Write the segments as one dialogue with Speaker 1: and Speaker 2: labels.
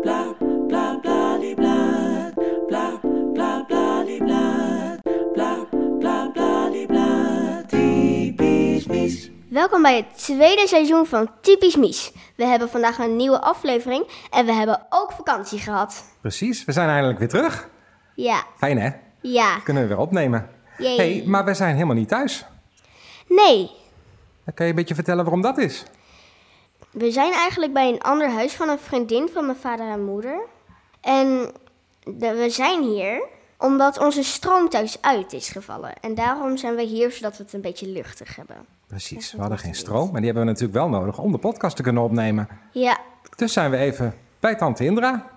Speaker 1: bla bla bla die bla bla bla bla die bla bla bla bla die bla typisch mis.
Speaker 2: Welkom bij het tweede seizoen van Typisch Mies. We hebben vandaag een nieuwe aflevering en we hebben ook vakantie gehad.
Speaker 3: Precies, we zijn eindelijk weer terug.
Speaker 2: Ja,
Speaker 3: Fijn hè?
Speaker 2: ja,
Speaker 3: Kunnen we weer opnemen.
Speaker 2: Jee.
Speaker 3: hey, maar we zijn helemaal niet thuis.
Speaker 2: nee.
Speaker 3: Kan je een beetje vertellen waarom dat is?
Speaker 2: We zijn eigenlijk bij een ander huis van een vriendin van mijn vader en moeder. En de- we zijn hier omdat onze stroom thuis uit is gevallen. En daarom zijn we hier zodat we het een beetje luchtig hebben.
Speaker 3: Precies, we hadden geen stroom, maar die hebben we natuurlijk wel nodig om de podcast te kunnen opnemen.
Speaker 2: Ja,
Speaker 3: Dus zijn we even bij tante Indra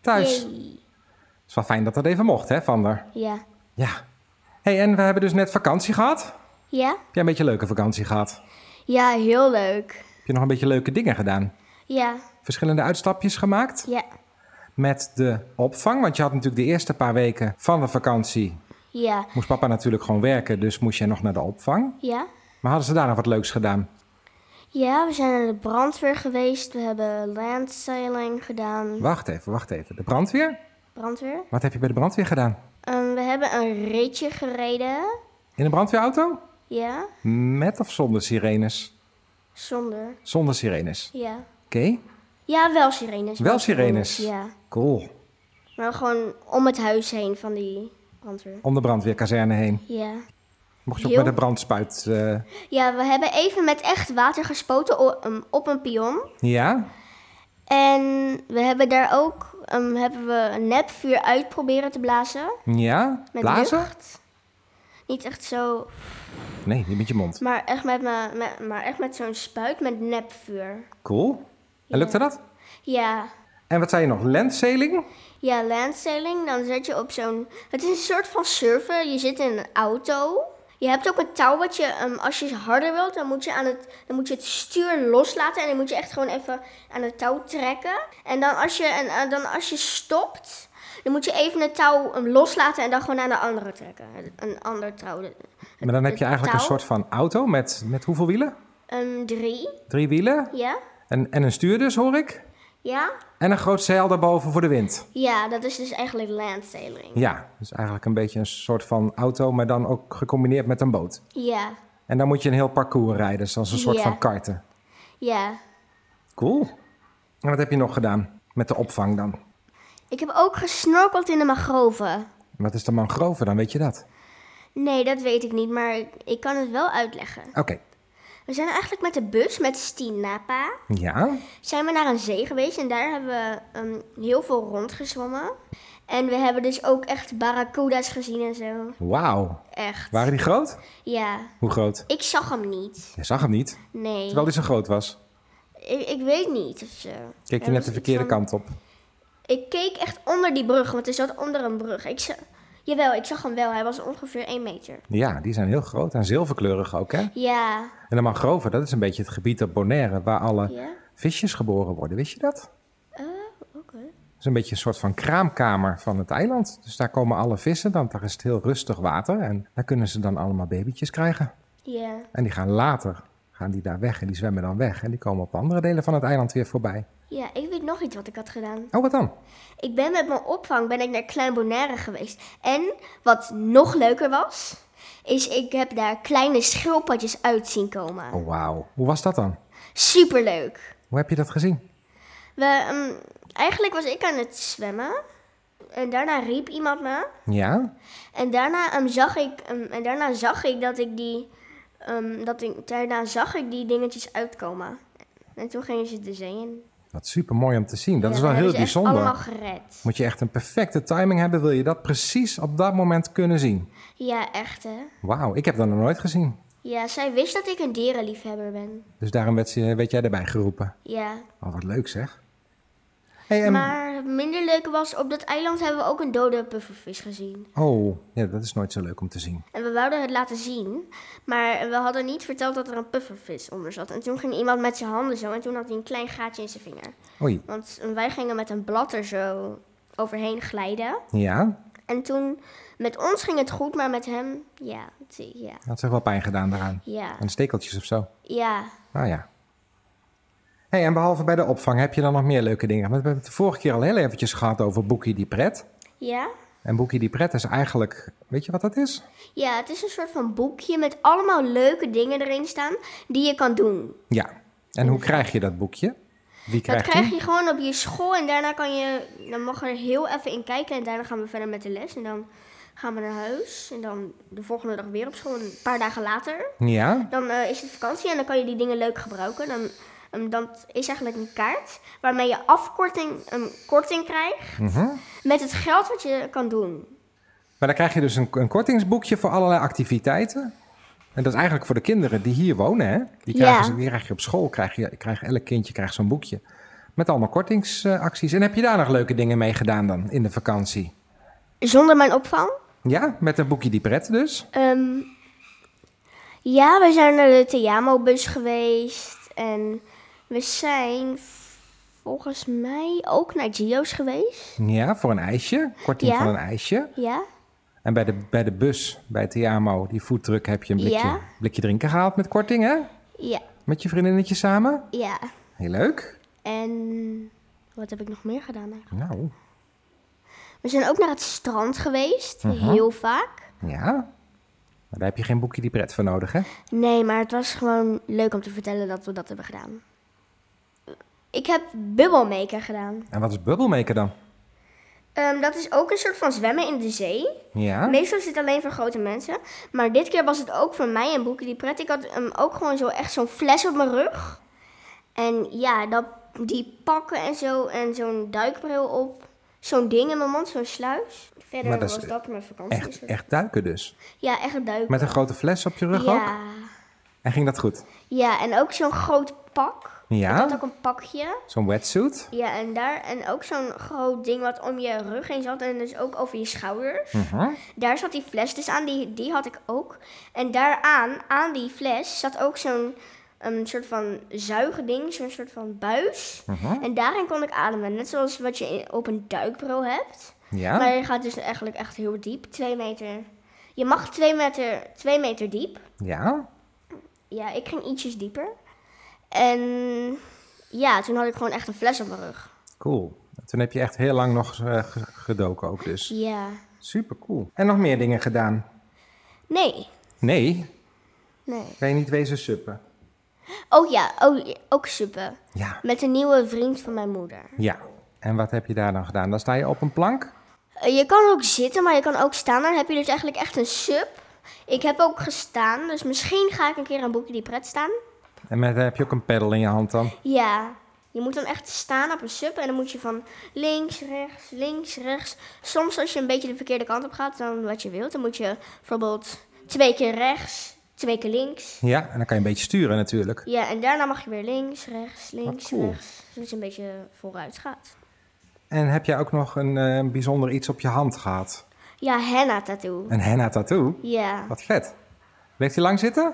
Speaker 3: thuis. Het
Speaker 2: Jee.
Speaker 3: is wel fijn dat dat even mocht hè, Vander?
Speaker 2: ja,
Speaker 3: Ja. hey, en we hebben dus net vakantie gehad. Heb
Speaker 2: ja,
Speaker 3: jij een beetje leuke vakantie gehad?
Speaker 2: ja, heel leuk.
Speaker 3: Heb je nog een beetje leuke dingen gedaan?
Speaker 2: Ja,
Speaker 3: Verschillende uitstapjes gemaakt?
Speaker 2: ja,
Speaker 3: Met de opvang, want je had natuurlijk de eerste paar weken van de vakantie
Speaker 2: ja,
Speaker 3: Moest papa natuurlijk gewoon werken, dus moest jij nog naar de opvang.
Speaker 2: ja.
Speaker 3: Maar hadden ze daar nog wat leuks gedaan?
Speaker 2: Ja, we zijn naar de brandweer geweest. We hebben landsailing gedaan.
Speaker 3: Wacht even, wacht even. De brandweer?
Speaker 2: Brandweer.
Speaker 3: Wat heb je bij de brandweer gedaan?
Speaker 2: Ehm, we hebben een ritje gereden.
Speaker 3: In een brandweerauto?
Speaker 2: Ja,
Speaker 3: Met of zonder sirenes?
Speaker 2: zonder.
Speaker 3: Zonder sirenes.
Speaker 2: Ja.
Speaker 3: Oké,
Speaker 2: Ja, wel sirenes.
Speaker 3: Wel sirenes.
Speaker 2: Ja.
Speaker 3: cool.
Speaker 2: Maar gewoon om het huis heen van die brandweer.
Speaker 3: Om de brandweerkazerne heen.
Speaker 2: Ja.
Speaker 3: Mocht je ook
Speaker 2: Heel-
Speaker 3: met de brandspuit... eh,
Speaker 2: Ja, we hebben even met echt water gespoten o- ehm, op een pion.
Speaker 3: Ja?
Speaker 2: En we hebben daar ook ehm, hebben we een nepvuur uit proberen te blazen.
Speaker 3: Ja?
Speaker 2: Met
Speaker 3: Blazen?
Speaker 2: lucht. Niet echt zo
Speaker 3: Nee, niet met je mond.
Speaker 2: Maar echt met, me, met, maar echt met zo'n spuit met nepvuur.
Speaker 3: Cool. En lukte dat?
Speaker 2: Ja.
Speaker 3: En wat zei je nog? Lentsailing?
Speaker 2: Ja, landsailing, dan zet je op zo'n... Het is een soort van surfen. Je zit in een auto. Je hebt ook een touw wat je, ehm, als je harder wilt, dan moet je, aan het, dan moet je het stuur loslaten. En dan moet je echt gewoon even aan het touw trekken. En dan als je, en, eh, dan als je stopt, dan moet je even het touw ehm, loslaten en dan gewoon aan de andere trekken. Een ander touw.
Speaker 3: Maar dan heb je eigenlijk een
Speaker 2: touw?
Speaker 3: soort van auto met, met hoeveel wielen?
Speaker 2: Ehm, drie,
Speaker 3: Drie wielen?
Speaker 2: ja?
Speaker 3: En, en een stuur dus, hoor ik.
Speaker 2: Ja?
Speaker 3: En een groot zeil daarboven voor de wind.
Speaker 2: Ja, dat is dus eigenlijk landsailing.
Speaker 3: Ja, dus eigenlijk een beetje een soort van auto, maar dan ook gecombineerd met een boot.
Speaker 2: Ja,
Speaker 3: En dan moet je een heel parcours rijden, zoals een soort
Speaker 2: Ja.
Speaker 3: van karten.
Speaker 2: ja.
Speaker 3: Cool. En wat heb je nog gedaan met de opvang dan?
Speaker 2: Ik heb ook gesnorkeld in de mangroven.
Speaker 3: Wat is de mangrove dan, weet je dat?
Speaker 2: Nee, dat weet ik niet, maar ik, ik kan het wel uitleggen.
Speaker 3: Oké,
Speaker 2: We zijn eigenlijk met de bus, met Stinapa,
Speaker 3: ja,
Speaker 2: zijn we naar een zee geweest en daar hebben we ehm, heel veel rondgezwommen. En we hebben dus ook echt barracuda's gezien en zo.
Speaker 3: wauw.
Speaker 2: Echt.
Speaker 3: Waren die groot?
Speaker 2: Ja.
Speaker 3: Hoe groot?
Speaker 2: Ik zag hem niet.
Speaker 3: Je zag hem niet,
Speaker 2: Nee.
Speaker 3: terwijl hij zo groot was.
Speaker 2: Ik, ik weet niet of zo.
Speaker 3: Keek je net
Speaker 2: Er was
Speaker 3: de
Speaker 2: iets
Speaker 3: verkeerde
Speaker 2: van-
Speaker 3: kant op.
Speaker 2: Ik keek echt onder die brug, want er zat onder een brug. Ik za- Jawel, ik zag hem wel. Hij was ongeveer 1 meter.
Speaker 3: Ja, die zijn heel groot en zilverkleurig ook, hè?
Speaker 2: Ja.
Speaker 3: En de mangrove, dat is een beetje het gebied op Bonaire waar alle
Speaker 2: Ja?
Speaker 3: visjes geboren worden. Wist je dat?
Speaker 2: Eh, Oké.
Speaker 3: Het is een beetje een soort van kraamkamer van het eiland. Dus daar komen alle vissen, dan daar is het heel rustig water. En daar kunnen ze dan allemaal babytjes krijgen.
Speaker 2: Ja.
Speaker 3: En die gaan later, gaan die daar weg en die zwemmen dan weg. En die komen op andere delen van het eiland weer voorbij.
Speaker 2: Ja, ik weet nog iets wat ik had gedaan.
Speaker 3: Oh, wat dan?
Speaker 2: Ik ben met mijn opvang ben ik naar Klein Bonaire geweest. En wat nog leuker was, is ik heb daar kleine schildpadjes uit zien komen.
Speaker 3: Oh, wauw. Hoe was dat dan?
Speaker 2: Superleuk.
Speaker 3: Hoe heb je dat gezien?
Speaker 2: We, ehm, eigenlijk was ik aan het zwemmen. En daarna riep iemand me.
Speaker 3: Ja?
Speaker 2: En daarna, ehm, zag, ik, ehm, en daarna zag ik dat ik die... ehm, dat ik, daarna zag ik die dingetjes uitkomen. En toen gingen ze de zee in.
Speaker 3: Wat super mooi om te zien. Dat
Speaker 2: Ja,
Speaker 3: is wel
Speaker 2: we
Speaker 3: heel
Speaker 2: hebben ze echt
Speaker 3: bijzonder.
Speaker 2: allemaal gered.
Speaker 3: Moet je echt een perfecte timing hebben, wil je dat precies op dat moment kunnen zien.
Speaker 2: Ja, echt hè.
Speaker 3: Wauw, ik heb dat nog nooit gezien.
Speaker 2: Ja, zij wist dat ik een dierenliefhebber ben.
Speaker 3: Dus daarom werd, ze- werd jij erbij geroepen.
Speaker 2: Ja.
Speaker 3: Oh, wat leuk zeg. Hey, en-
Speaker 2: Maar minder leuk was, op dat eiland hebben we ook een dode puffervis gezien.
Speaker 3: Oh, ja, dat is nooit zo leuk om te zien.
Speaker 2: En we wilden het laten zien, maar we hadden niet verteld dat er een puffervis onder zat. En toen ging iemand met zijn handen zo en toen had hij een klein gaatje in zijn vinger.
Speaker 3: Oei,
Speaker 2: Want wij gingen met een blad er zo overheen glijden.
Speaker 3: ja,
Speaker 2: En toen, met ons ging het goed, maar met hem, ja, het- ja,
Speaker 3: dat heeft wel pijn gedaan daaraan.
Speaker 2: ja,
Speaker 3: Aan de stekeltjes of zo.
Speaker 2: ja.
Speaker 3: Nou ja. Ah, Hey, en behalve bij de opvang heb je dan nog meer leuke dingen. Want we hebben het de vorige keer al heel eventjes gehad over Boekie die Pret.
Speaker 2: Ja?
Speaker 3: En Boekie die Pret is eigenlijk, weet je wat dat is?
Speaker 2: Ja, het is een soort van boekje met allemaal leuke dingen erin staan die je kan doen.
Speaker 3: Ja. En hoe krijg je dat boekje? Wie
Speaker 2: Dat
Speaker 3: krijgt
Speaker 2: krijg
Speaker 3: die?
Speaker 2: je gewoon op je school en daarna kan je, dan mag je er heel even in kijken en daarna gaan we verder met de les en dan gaan we naar huis en dan de volgende dag weer op school, een paar dagen later.
Speaker 3: Ja.
Speaker 2: Dan eh, is het vakantie en dan kan je die dingen leuk gebruiken. Dan, ehm, dat is eigenlijk een kaart waarmee je afkorting, een korting krijgt
Speaker 3: Mhm.
Speaker 2: met het geld wat je kan doen.
Speaker 3: Maar dan krijg je dus een, een kortingsboekje voor allerlei activiteiten. En dat is eigenlijk voor de kinderen die hier wonen, hè? Die,
Speaker 2: Ja.
Speaker 3: krijgen, ze- die krijg je op school, krijg je, krijg, elk kindje krijgt zo'n boekje. Met allemaal kortingsacties. En heb je daar nog leuke dingen mee gedaan dan, in de vakantie?
Speaker 2: Zonder mijn opvang?
Speaker 3: Ja, met een boekje die pret dus.
Speaker 2: Ehm, ja, we zijn naar de Theamo-bus geweest. En we zijn v- volgens mij ook naar Gio's geweest.
Speaker 3: Ja, voor een ijsje. Korting
Speaker 2: Ja.
Speaker 3: van een ijsje.
Speaker 2: Ja.
Speaker 3: En bij de, bij de bus, bij Tiamo, die foodtruck, heb je een blikje,
Speaker 2: Ja.
Speaker 3: blikje drinken gehaald met korting, hè?
Speaker 2: Ja.
Speaker 3: Met je vriendinnetje samen.
Speaker 2: Ja.
Speaker 3: Heel leuk.
Speaker 2: En wat heb ik nog meer gedaan? eigenlijk?
Speaker 3: Nou,
Speaker 2: We zijn ook naar het strand geweest. Heel vaak.
Speaker 3: ja. Maar daar heb je geen boekje die pret voor nodig, hè?
Speaker 2: Nee, maar het was gewoon leuk om te vertellen dat we dat hebben gedaan. Ik heb bubbelmaker gedaan.
Speaker 3: En wat is bubbelmaker dan?
Speaker 2: Ehm, dat is ook een soort van zwemmen in de zee.
Speaker 3: Ja.
Speaker 2: Meestal is het alleen voor grote mensen. Maar dit keer was het ook voor mij en Boekie die pret. Ik had hem ook gewoon zo echt zo'n fles op mijn rug. En ja, dat, die pakken en zo. En zo'n duikbril op. Zo'n ding in mijn mond, zo'n sluis. Verder
Speaker 3: Maar dat is
Speaker 2: was dat mijn vakantie.
Speaker 3: Echt, echt duiken dus.
Speaker 2: Ja, echt duiken.
Speaker 3: Met een grote fles op je rug ook.
Speaker 2: ja.
Speaker 3: En ging dat goed?
Speaker 2: ja, en ook zo'n groot pak.
Speaker 3: Ja.
Speaker 2: Ik had ook een pakje.
Speaker 3: Zo'n wetsuit.
Speaker 2: Ja, en daar en ook zo'n groot ding wat om je rug heen zat en dus ook over je schouders.
Speaker 3: Hm.
Speaker 2: Daar zat die fles dus aan, die, die had ik ook. En daaraan, aan die fles, zat ook zo'n een soort van zuigding, zo'n soort van buis. En daarin kon ik ademen, net zoals wat je in- op een duikbril hebt.
Speaker 3: Ja.
Speaker 2: Maar je gaat dus eigenlijk echt heel diep, twee meter. Je mag twee meter, twee meter diep.
Speaker 3: Ja.
Speaker 2: Ja, ik ging ietsjes dieper. En ja, toen had ik gewoon echt een fles op mijn rug.
Speaker 3: Cool. Toen heb je echt heel lang nog eh, ge- gedoken ook dus.
Speaker 2: Ja.
Speaker 3: Super cool. En nog meer dingen gedaan?
Speaker 2: Nee.
Speaker 3: Nee,
Speaker 2: Nee.
Speaker 3: kan je niet wezen suppen.
Speaker 2: Oh ja, oh, ook suppen.
Speaker 3: Ja.
Speaker 2: Met een nieuwe vriend van mijn moeder.
Speaker 3: Ja. En wat heb je daar dan gedaan? Dan sta je op een plank.
Speaker 2: Eh, Je kan ook zitten, maar je kan ook staan. Dan heb je dus eigenlijk echt een sup. Ik heb ook gestaan, dus misschien ga ik een keer aan Boekje die Pret staan.
Speaker 3: En met, heb je ook een peddel in je hand dan?
Speaker 2: Ja, je moet dan echt staan op een sup. En dan moet je van links, rechts, links, rechts. Soms als je een beetje de verkeerde kant op gaat, dan wat je wilt. Dan moet je bijvoorbeeld twee keer rechts, twee keer links.
Speaker 3: Ja, en dan kan je een beetje sturen natuurlijk.
Speaker 2: Ja, en daarna mag je weer links, rechts, links,
Speaker 3: cool.
Speaker 2: rechts. Zodat je een beetje vooruit gaat.
Speaker 3: En heb jij ook nog een eh, bijzonder iets op je hand gehad?
Speaker 2: Ja, henna tattoo.
Speaker 3: Een henna tattoo?
Speaker 2: Ja,
Speaker 3: Wat vet. Bleef hij lang zitten?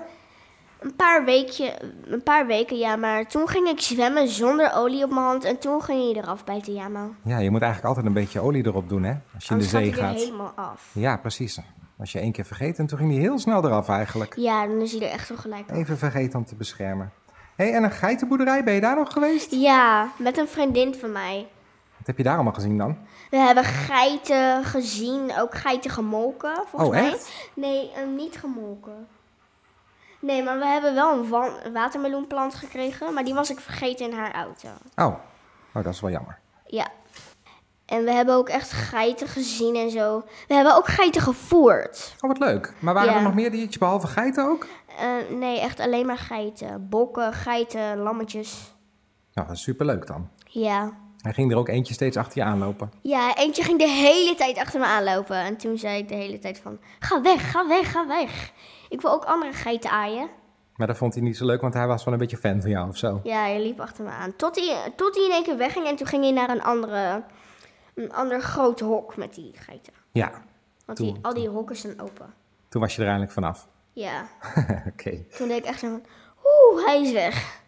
Speaker 2: een paar, weekje, een paar weken ja, maar toen ging ik zwemmen zonder olie op mijn hand en toen ging hij eraf bij Tiamo.
Speaker 3: Ja, je moet eigenlijk altijd een beetje olie erop doen, hè? Als je in de
Speaker 2: Anders gaat
Speaker 3: zee
Speaker 2: hij er
Speaker 3: gaat.
Speaker 2: helemaal af.
Speaker 3: Ja, precies. Als je één keer vergeet, en toen ging die heel snel eraf eigenlijk.
Speaker 2: Ja, dan is hij er echt zo gelijk af.
Speaker 3: Even vergeten om te beschermen. Hé, hey, en een geitenboerderij, ben je daar nog geweest?
Speaker 2: Ja, met een vriendin van mij.
Speaker 3: Wat heb je daar allemaal gezien dan?
Speaker 2: We hebben geiten gezien, ook geiten gemolken, volgens
Speaker 3: Oh,
Speaker 2: mij.
Speaker 3: echt?
Speaker 2: Nee, eh, niet gemolken. Nee, maar we hebben wel een wan- watermeloenplant gekregen, maar die was ik vergeten in haar auto.
Speaker 3: Oh, oh dat is wel jammer.
Speaker 2: Ja. En we hebben ook echt geiten gezien en zo. We hebben ook geiten gevoerd.
Speaker 3: Oh, wat leuk. Maar waren
Speaker 2: Ja.
Speaker 3: er nog meer diertjes behalve geiten ook?
Speaker 2: Eh, nee, echt alleen maar geiten. Bokken, geiten, lammetjes.
Speaker 3: Nou, dat is superleuk dan.
Speaker 2: Ja.
Speaker 3: Hij ging er ook eentje steeds achter je aanlopen.
Speaker 2: Ja, eentje ging de hele tijd achter me aanlopen. En toen zei ik de hele tijd van, ga weg, ga weg, ga weg. Ik wil ook andere geiten aaien.
Speaker 3: Maar dat vond hij niet zo leuk, want hij was wel een beetje fan van jou of zo.
Speaker 2: Ja, hij liep achter me aan. Tot hij, tot hij in één keer wegging en toen ging hij naar een, andere, een ander groot hok met die geiten.
Speaker 3: Ja,
Speaker 2: Want die, al die hokken zijn open.
Speaker 3: toen was je er eindelijk vanaf.
Speaker 2: Ja,
Speaker 3: Oké.
Speaker 2: toen deed ik echt zo van, oeh, hij is weg.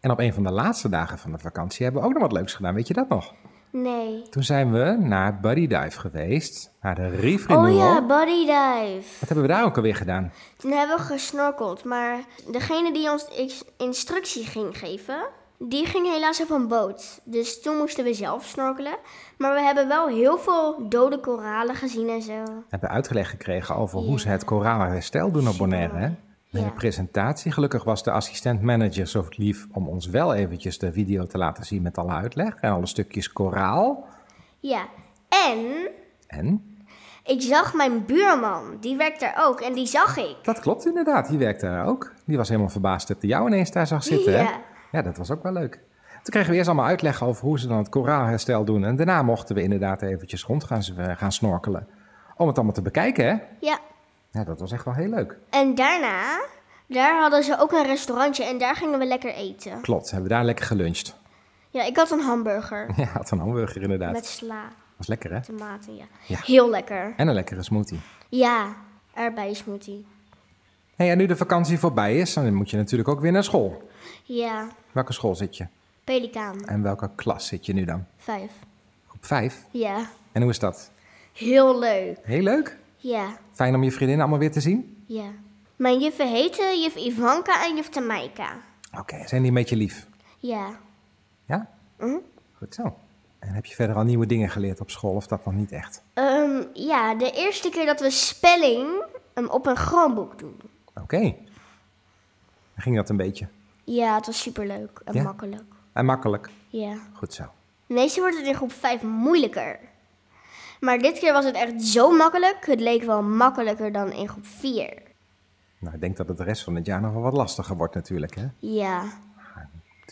Speaker 3: En op een van de laatste dagen van de vakantie hebben we ook nog wat leuks gedaan. Weet je dat nog?
Speaker 2: Nee.
Speaker 3: Toen zijn we naar Buddy Dive geweest, naar de Reef
Speaker 2: Oh
Speaker 3: Renewal.
Speaker 2: ja, body dive.
Speaker 3: Wat hebben we daar ook alweer gedaan?
Speaker 2: Toen hebben we gesnorkeld, maar degene die ons ex- instructie ging geven, Die ging helaas op een boot. Dus toen moesten we zelf snorkelen. Maar we hebben wel heel veel dode koralen gezien en zo.
Speaker 3: Hebben uitgeleg gekregen over
Speaker 2: Ja.
Speaker 3: hoe ze het koralenherstel doen op Bonaire. Hè? Bij
Speaker 2: Ja.
Speaker 3: de presentatie, gelukkig was de assistent-manager zo lief om ons wel eventjes de video te laten zien met alle uitleg en alle stukjes koraal.
Speaker 2: Ja. En
Speaker 3: En
Speaker 2: ik zag mijn buurman. Die werkt daar ook. En die zag ik.
Speaker 3: dat klopt inderdaad, die werkte daar ook. Die was helemaal verbaasd dat hij jou ineens daar zag zitten. Hè?
Speaker 2: Ja.
Speaker 3: ja, dat was ook wel leuk. Toen kregen we eerst allemaal uitleg over hoe ze dan het koraalherstel doen. En daarna mochten we inderdaad eventjes rond gaan, eh, gaan snorkelen. Om het allemaal te bekijken, hè?
Speaker 2: Ja.
Speaker 3: Ja, dat was echt wel heel leuk.
Speaker 2: En daarna, daar hadden ze ook een restaurantje. En daar gingen we lekker eten.
Speaker 3: Klopt, hebben we daar lekker geluncht.
Speaker 2: Ja, ik had een hamburger.
Speaker 3: Ja, had een hamburger inderdaad.
Speaker 2: Met sla,
Speaker 3: was lekker, hè?
Speaker 2: tomaten, ja.
Speaker 3: Ja.
Speaker 2: Heel lekker.
Speaker 3: En een lekkere smoothie.
Speaker 2: Ja, erbij smoothie.
Speaker 3: Hey, en nu de vakantie voorbij is, dan moet je natuurlijk ook weer naar school.
Speaker 2: Ja,
Speaker 3: Welke school zit je?
Speaker 2: pelikaan.
Speaker 3: En welke klas zit je nu dan?
Speaker 2: Vijf.
Speaker 3: Groep 5.
Speaker 2: Ja,
Speaker 3: En hoe is dat?
Speaker 2: heel leuk.
Speaker 3: Heel leuk.
Speaker 2: Ja,
Speaker 3: Fijn om je vriendinnen allemaal weer te zien.
Speaker 2: ja. Mijn juffen heten juf Ivanka en juf Tamaika.
Speaker 3: Oké, zijn die een beetje lief?
Speaker 2: Ja.
Speaker 3: Ja?
Speaker 2: Mhm.
Speaker 3: Goed zo. En heb je verder al nieuwe dingen geleerd op school of dat nog niet echt?
Speaker 2: Ehm, ja, de eerste keer dat we spelling ehm, op een groenboek doen.
Speaker 3: Oké. Dan ging dat een beetje.
Speaker 2: Ja, het was superleuk en
Speaker 3: Ja?
Speaker 2: makkelijk.
Speaker 3: En makkelijk.
Speaker 2: Ja.
Speaker 3: Goed zo.
Speaker 2: Meestal wordt het in groep 5 moeilijker. Maar dit keer was het echt zo makkelijk. Het leek wel makkelijker dan in groep 4.
Speaker 3: Nou, ik denk dat het de rest van het jaar nog wel wat lastiger wordt natuurlijk, hè?
Speaker 2: Ja,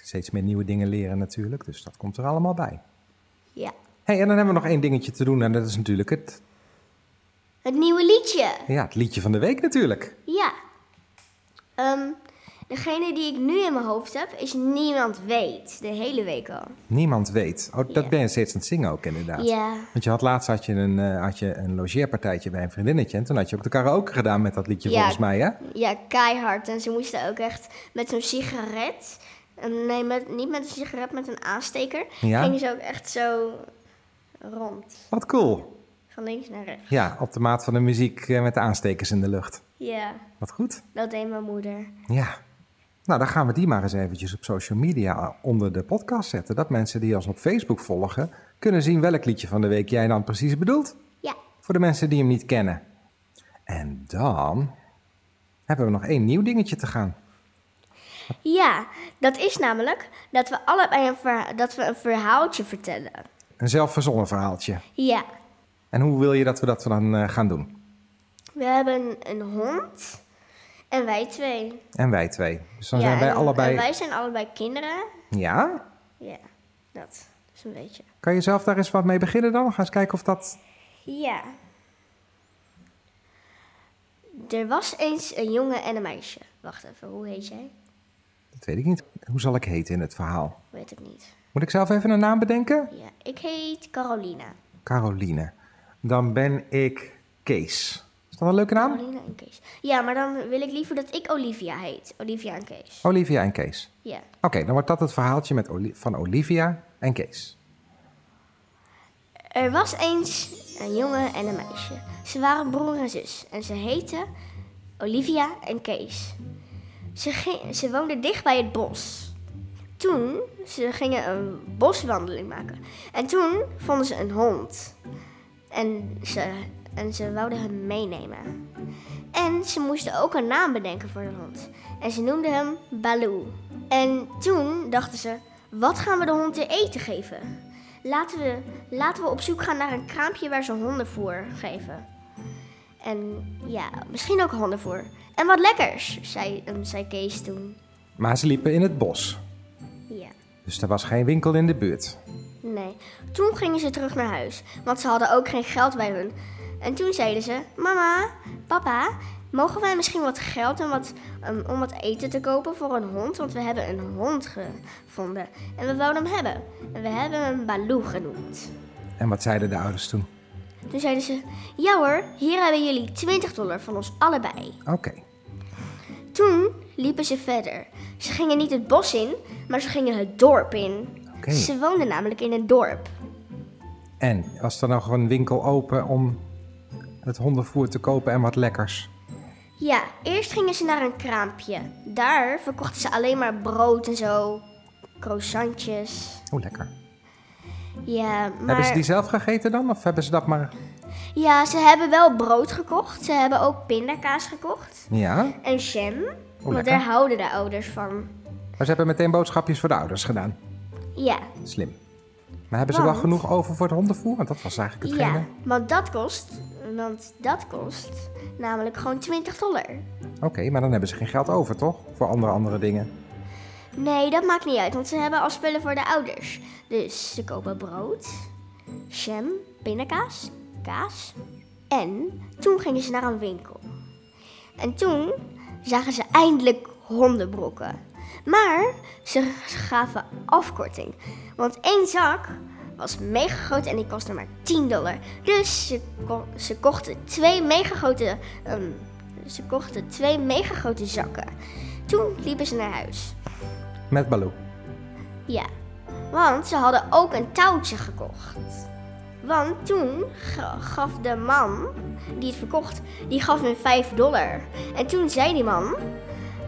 Speaker 3: Steeds meer nieuwe dingen leren natuurlijk, dus dat komt er allemaal bij.
Speaker 2: ja.
Speaker 3: hey, en dan hebben we nog één dingetje te doen en dat is natuurlijk het,
Speaker 2: Het nieuwe liedje.
Speaker 3: ja, het liedje van de week natuurlijk.
Speaker 2: Ja. Ehm, degene die ik nu in mijn hoofd heb, is niemand weet. De hele week al.
Speaker 3: Niemand weet. Oh, dat
Speaker 2: Ja.
Speaker 3: ben je steeds aan het zingen ook inderdaad.
Speaker 2: Ja.
Speaker 3: Want je had laatst had je, een, eh, had je een logeerpartijtje bij een vriendinnetje en toen had je ook de karaoke gedaan met dat liedje
Speaker 2: Ja.
Speaker 3: volgens mij, hè?
Speaker 2: Ja, keihard. En ze moesten ook echt met zo'n sigaret. eh, Nee, met, niet met een sigaret, met een aansteker.
Speaker 3: Ja.
Speaker 2: Gingen ze ook echt zo rond.
Speaker 3: Wat cool.
Speaker 2: Van links naar rechts.
Speaker 3: Ja, op de maat van de muziek eh, met de aanstekers in de lucht.
Speaker 2: Ja,
Speaker 3: Wat goed.
Speaker 2: dat deed mijn moeder.
Speaker 3: Ja. Nou, dan gaan we die maar eens eventjes op social media eh, onder de podcast zetten. Dat mensen die ons op Facebook volgen kunnen zien welk liedje van de week jij dan precies bedoelt.
Speaker 2: Ja.
Speaker 3: Voor de mensen die hem niet kennen. En dan hebben we nog één nieuw dingetje te gaan.
Speaker 2: Ja, dat is namelijk dat we allebei een, verha- dat we een verhaaltje vertellen.
Speaker 3: Een zelfverzonnen verhaaltje.
Speaker 2: Ja,
Speaker 3: En hoe wil je dat we dat dan eh, gaan doen?
Speaker 2: we hebben een hond en wij twee.
Speaker 3: En wij twee. Dus dan
Speaker 2: ja,
Speaker 3: zijn wij
Speaker 2: en-
Speaker 3: allebei...
Speaker 2: en wij zijn allebei kinderen.
Speaker 3: Ja?
Speaker 2: Ja, dat is een beetje.
Speaker 3: Kan je zelf daar eens wat mee beginnen dan? Ga eens kijken of dat...
Speaker 2: Ja. Er was eens een jongen en een meisje. Wacht even, hoe heet jij?
Speaker 3: Dat weet ik niet. Hoe zal ik heten in het verhaal?
Speaker 2: Weet ik niet.
Speaker 3: Moet ik zelf even een naam bedenken?
Speaker 2: Ja, ik heet Carolina.
Speaker 3: Caroline. Dan ben ik Kees. Is dat een leuke naam?
Speaker 2: Carolina en Kees. Ja, maar dan wil ik liever dat ik Olivia heet. Olivia en Kees.
Speaker 3: Olivia en Kees.
Speaker 2: Ja.
Speaker 3: Oké, dan wordt dat het verhaaltje met Oli- van Olivia en Kees.
Speaker 2: Er was eens een jongen en een meisje. Ze waren broer en zus en ze heten Olivia en Kees. Ze, ging- ze woonden dicht bij het bos. Toen ze gingen een boswandeling maken. En toen vonden ze een hond. En ze, en ze wilden hem meenemen. En ze moesten ook een naam bedenken voor de hond. En ze noemden hem Baloo. En toen dachten ze, wat gaan we de hond te eten geven? Laten we, laten we op zoek gaan naar een kraampje waar ze hondenvoer geven. En ja, misschien ook hondenvoer. En wat lekkers, zei, ehm, zei Kees toen.
Speaker 3: Maar ze liepen in het bos.
Speaker 2: Ja.
Speaker 3: Dus er was geen winkel in de buurt.
Speaker 2: Nee. Toen gingen ze terug naar huis, want ze hadden ook geen geld bij hun. En toen zeiden ze: Mama, papa, mogen wij misschien wat geld en wat, ehm, om wat eten te kopen voor een hond? Want we hebben een hond gevonden en we wouden hem hebben. En we hebben hem Baloo genoemd.
Speaker 3: En wat zeiden de ouders toen?
Speaker 2: Toen zeiden ze: Ja hoor, hier hebben jullie 20 dollar van ons allebei.
Speaker 3: Oké,
Speaker 2: Toen liepen ze verder. Ze gingen niet het bos in, maar ze gingen het dorp in.
Speaker 3: Oké.
Speaker 2: Ze woonden namelijk in een dorp.
Speaker 3: en was er nog een winkel open om het hondenvoer te kopen en wat lekkers?
Speaker 2: Ja, eerst gingen ze naar een kraampje. Daar verkochten ze alleen maar brood en zo. croissantjes.
Speaker 3: Hoe Oh, lekker.
Speaker 2: Ja,
Speaker 3: Hebben ze
Speaker 2: maar...
Speaker 3: die zelf gegeten dan? Of hebben ze dat maar...
Speaker 2: Ja, ze hebben wel brood gekocht. Ze hebben ook pindakaas gekocht.
Speaker 3: Ja?
Speaker 2: En jam. want
Speaker 3: Oh, lekker.
Speaker 2: daar houden de ouders van.
Speaker 3: Maar ze hebben meteen boodschapjes voor de ouders gedaan.
Speaker 2: Ja.
Speaker 3: Slim. Maar hebben ze wel
Speaker 2: Want-
Speaker 3: genoeg over voor het hondenvoer? Want dat was eigenlijk hetgene.
Speaker 2: Ja, want dat kost... Want dat kost namelijk gewoon 20 dollar.
Speaker 3: Oké, maar dan hebben ze geen geld over, toch? Voor andere andere dingen.
Speaker 2: Nee, dat maakt niet uit, want ze hebben al spullen voor de ouders. Dus ze kopen brood, jam, pindakaas, kaas. En toen gingen ze naar een winkel. En toen zagen ze eindelijk hondenbrokken. Maar ze gaven afkorting. Want één zak was mega groot en die kostte maar 10 dollar. Dus ze, ko- ze kochten twee mega grote... ehm, ze kochten twee mega grote zakken. Toen liepen ze naar huis.
Speaker 3: Met Baloo.
Speaker 2: Ja, want ze hadden ook een touwtje gekocht. Want toen ga- gaf de man die het verkocht, die gaf hun 5 dollar. En toen zei die man,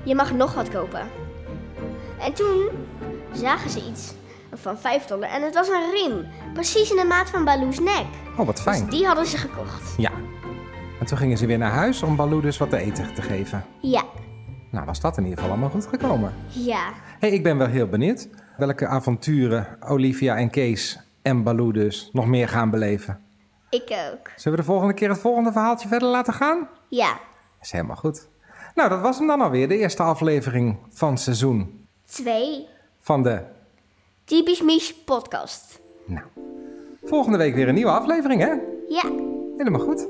Speaker 2: je mag nog wat kopen. En toen zagen ze iets van 5 dollar en het was een riem. Precies in de maat van Baloo's nek.
Speaker 3: Oh, wat
Speaker 2: Dus
Speaker 3: fijn.
Speaker 2: die hadden ze gekocht.
Speaker 3: Ja. En toen gingen ze weer naar huis om Baloo dus wat te eten te geven.
Speaker 2: Ja,
Speaker 3: Nou, was dat in ieder geval allemaal goed gekomen.
Speaker 2: ja,
Speaker 3: hey, ik ben wel heel benieuwd welke avonturen Olivia en Kees en Baloo dus nog meer gaan beleven.
Speaker 2: ik ook.
Speaker 3: Zullen we de volgende keer het volgende verhaaltje verder laten gaan?
Speaker 2: Ja,
Speaker 3: Is helemaal goed. Nou, dat was hem dan alweer, de eerste aflevering van seizoen
Speaker 2: twee
Speaker 3: van de...
Speaker 2: typisch Mies podcast.
Speaker 3: Nou, volgende week weer een nieuwe aflevering, hè?
Speaker 2: Ja.
Speaker 3: Helemaal goed.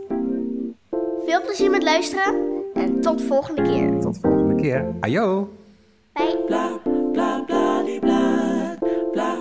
Speaker 2: Veel plezier met luisteren en tot volgende keer.
Speaker 3: Tot volgende keer. Ajo!
Speaker 2: Bye.
Speaker 1: blah blah blah blah blah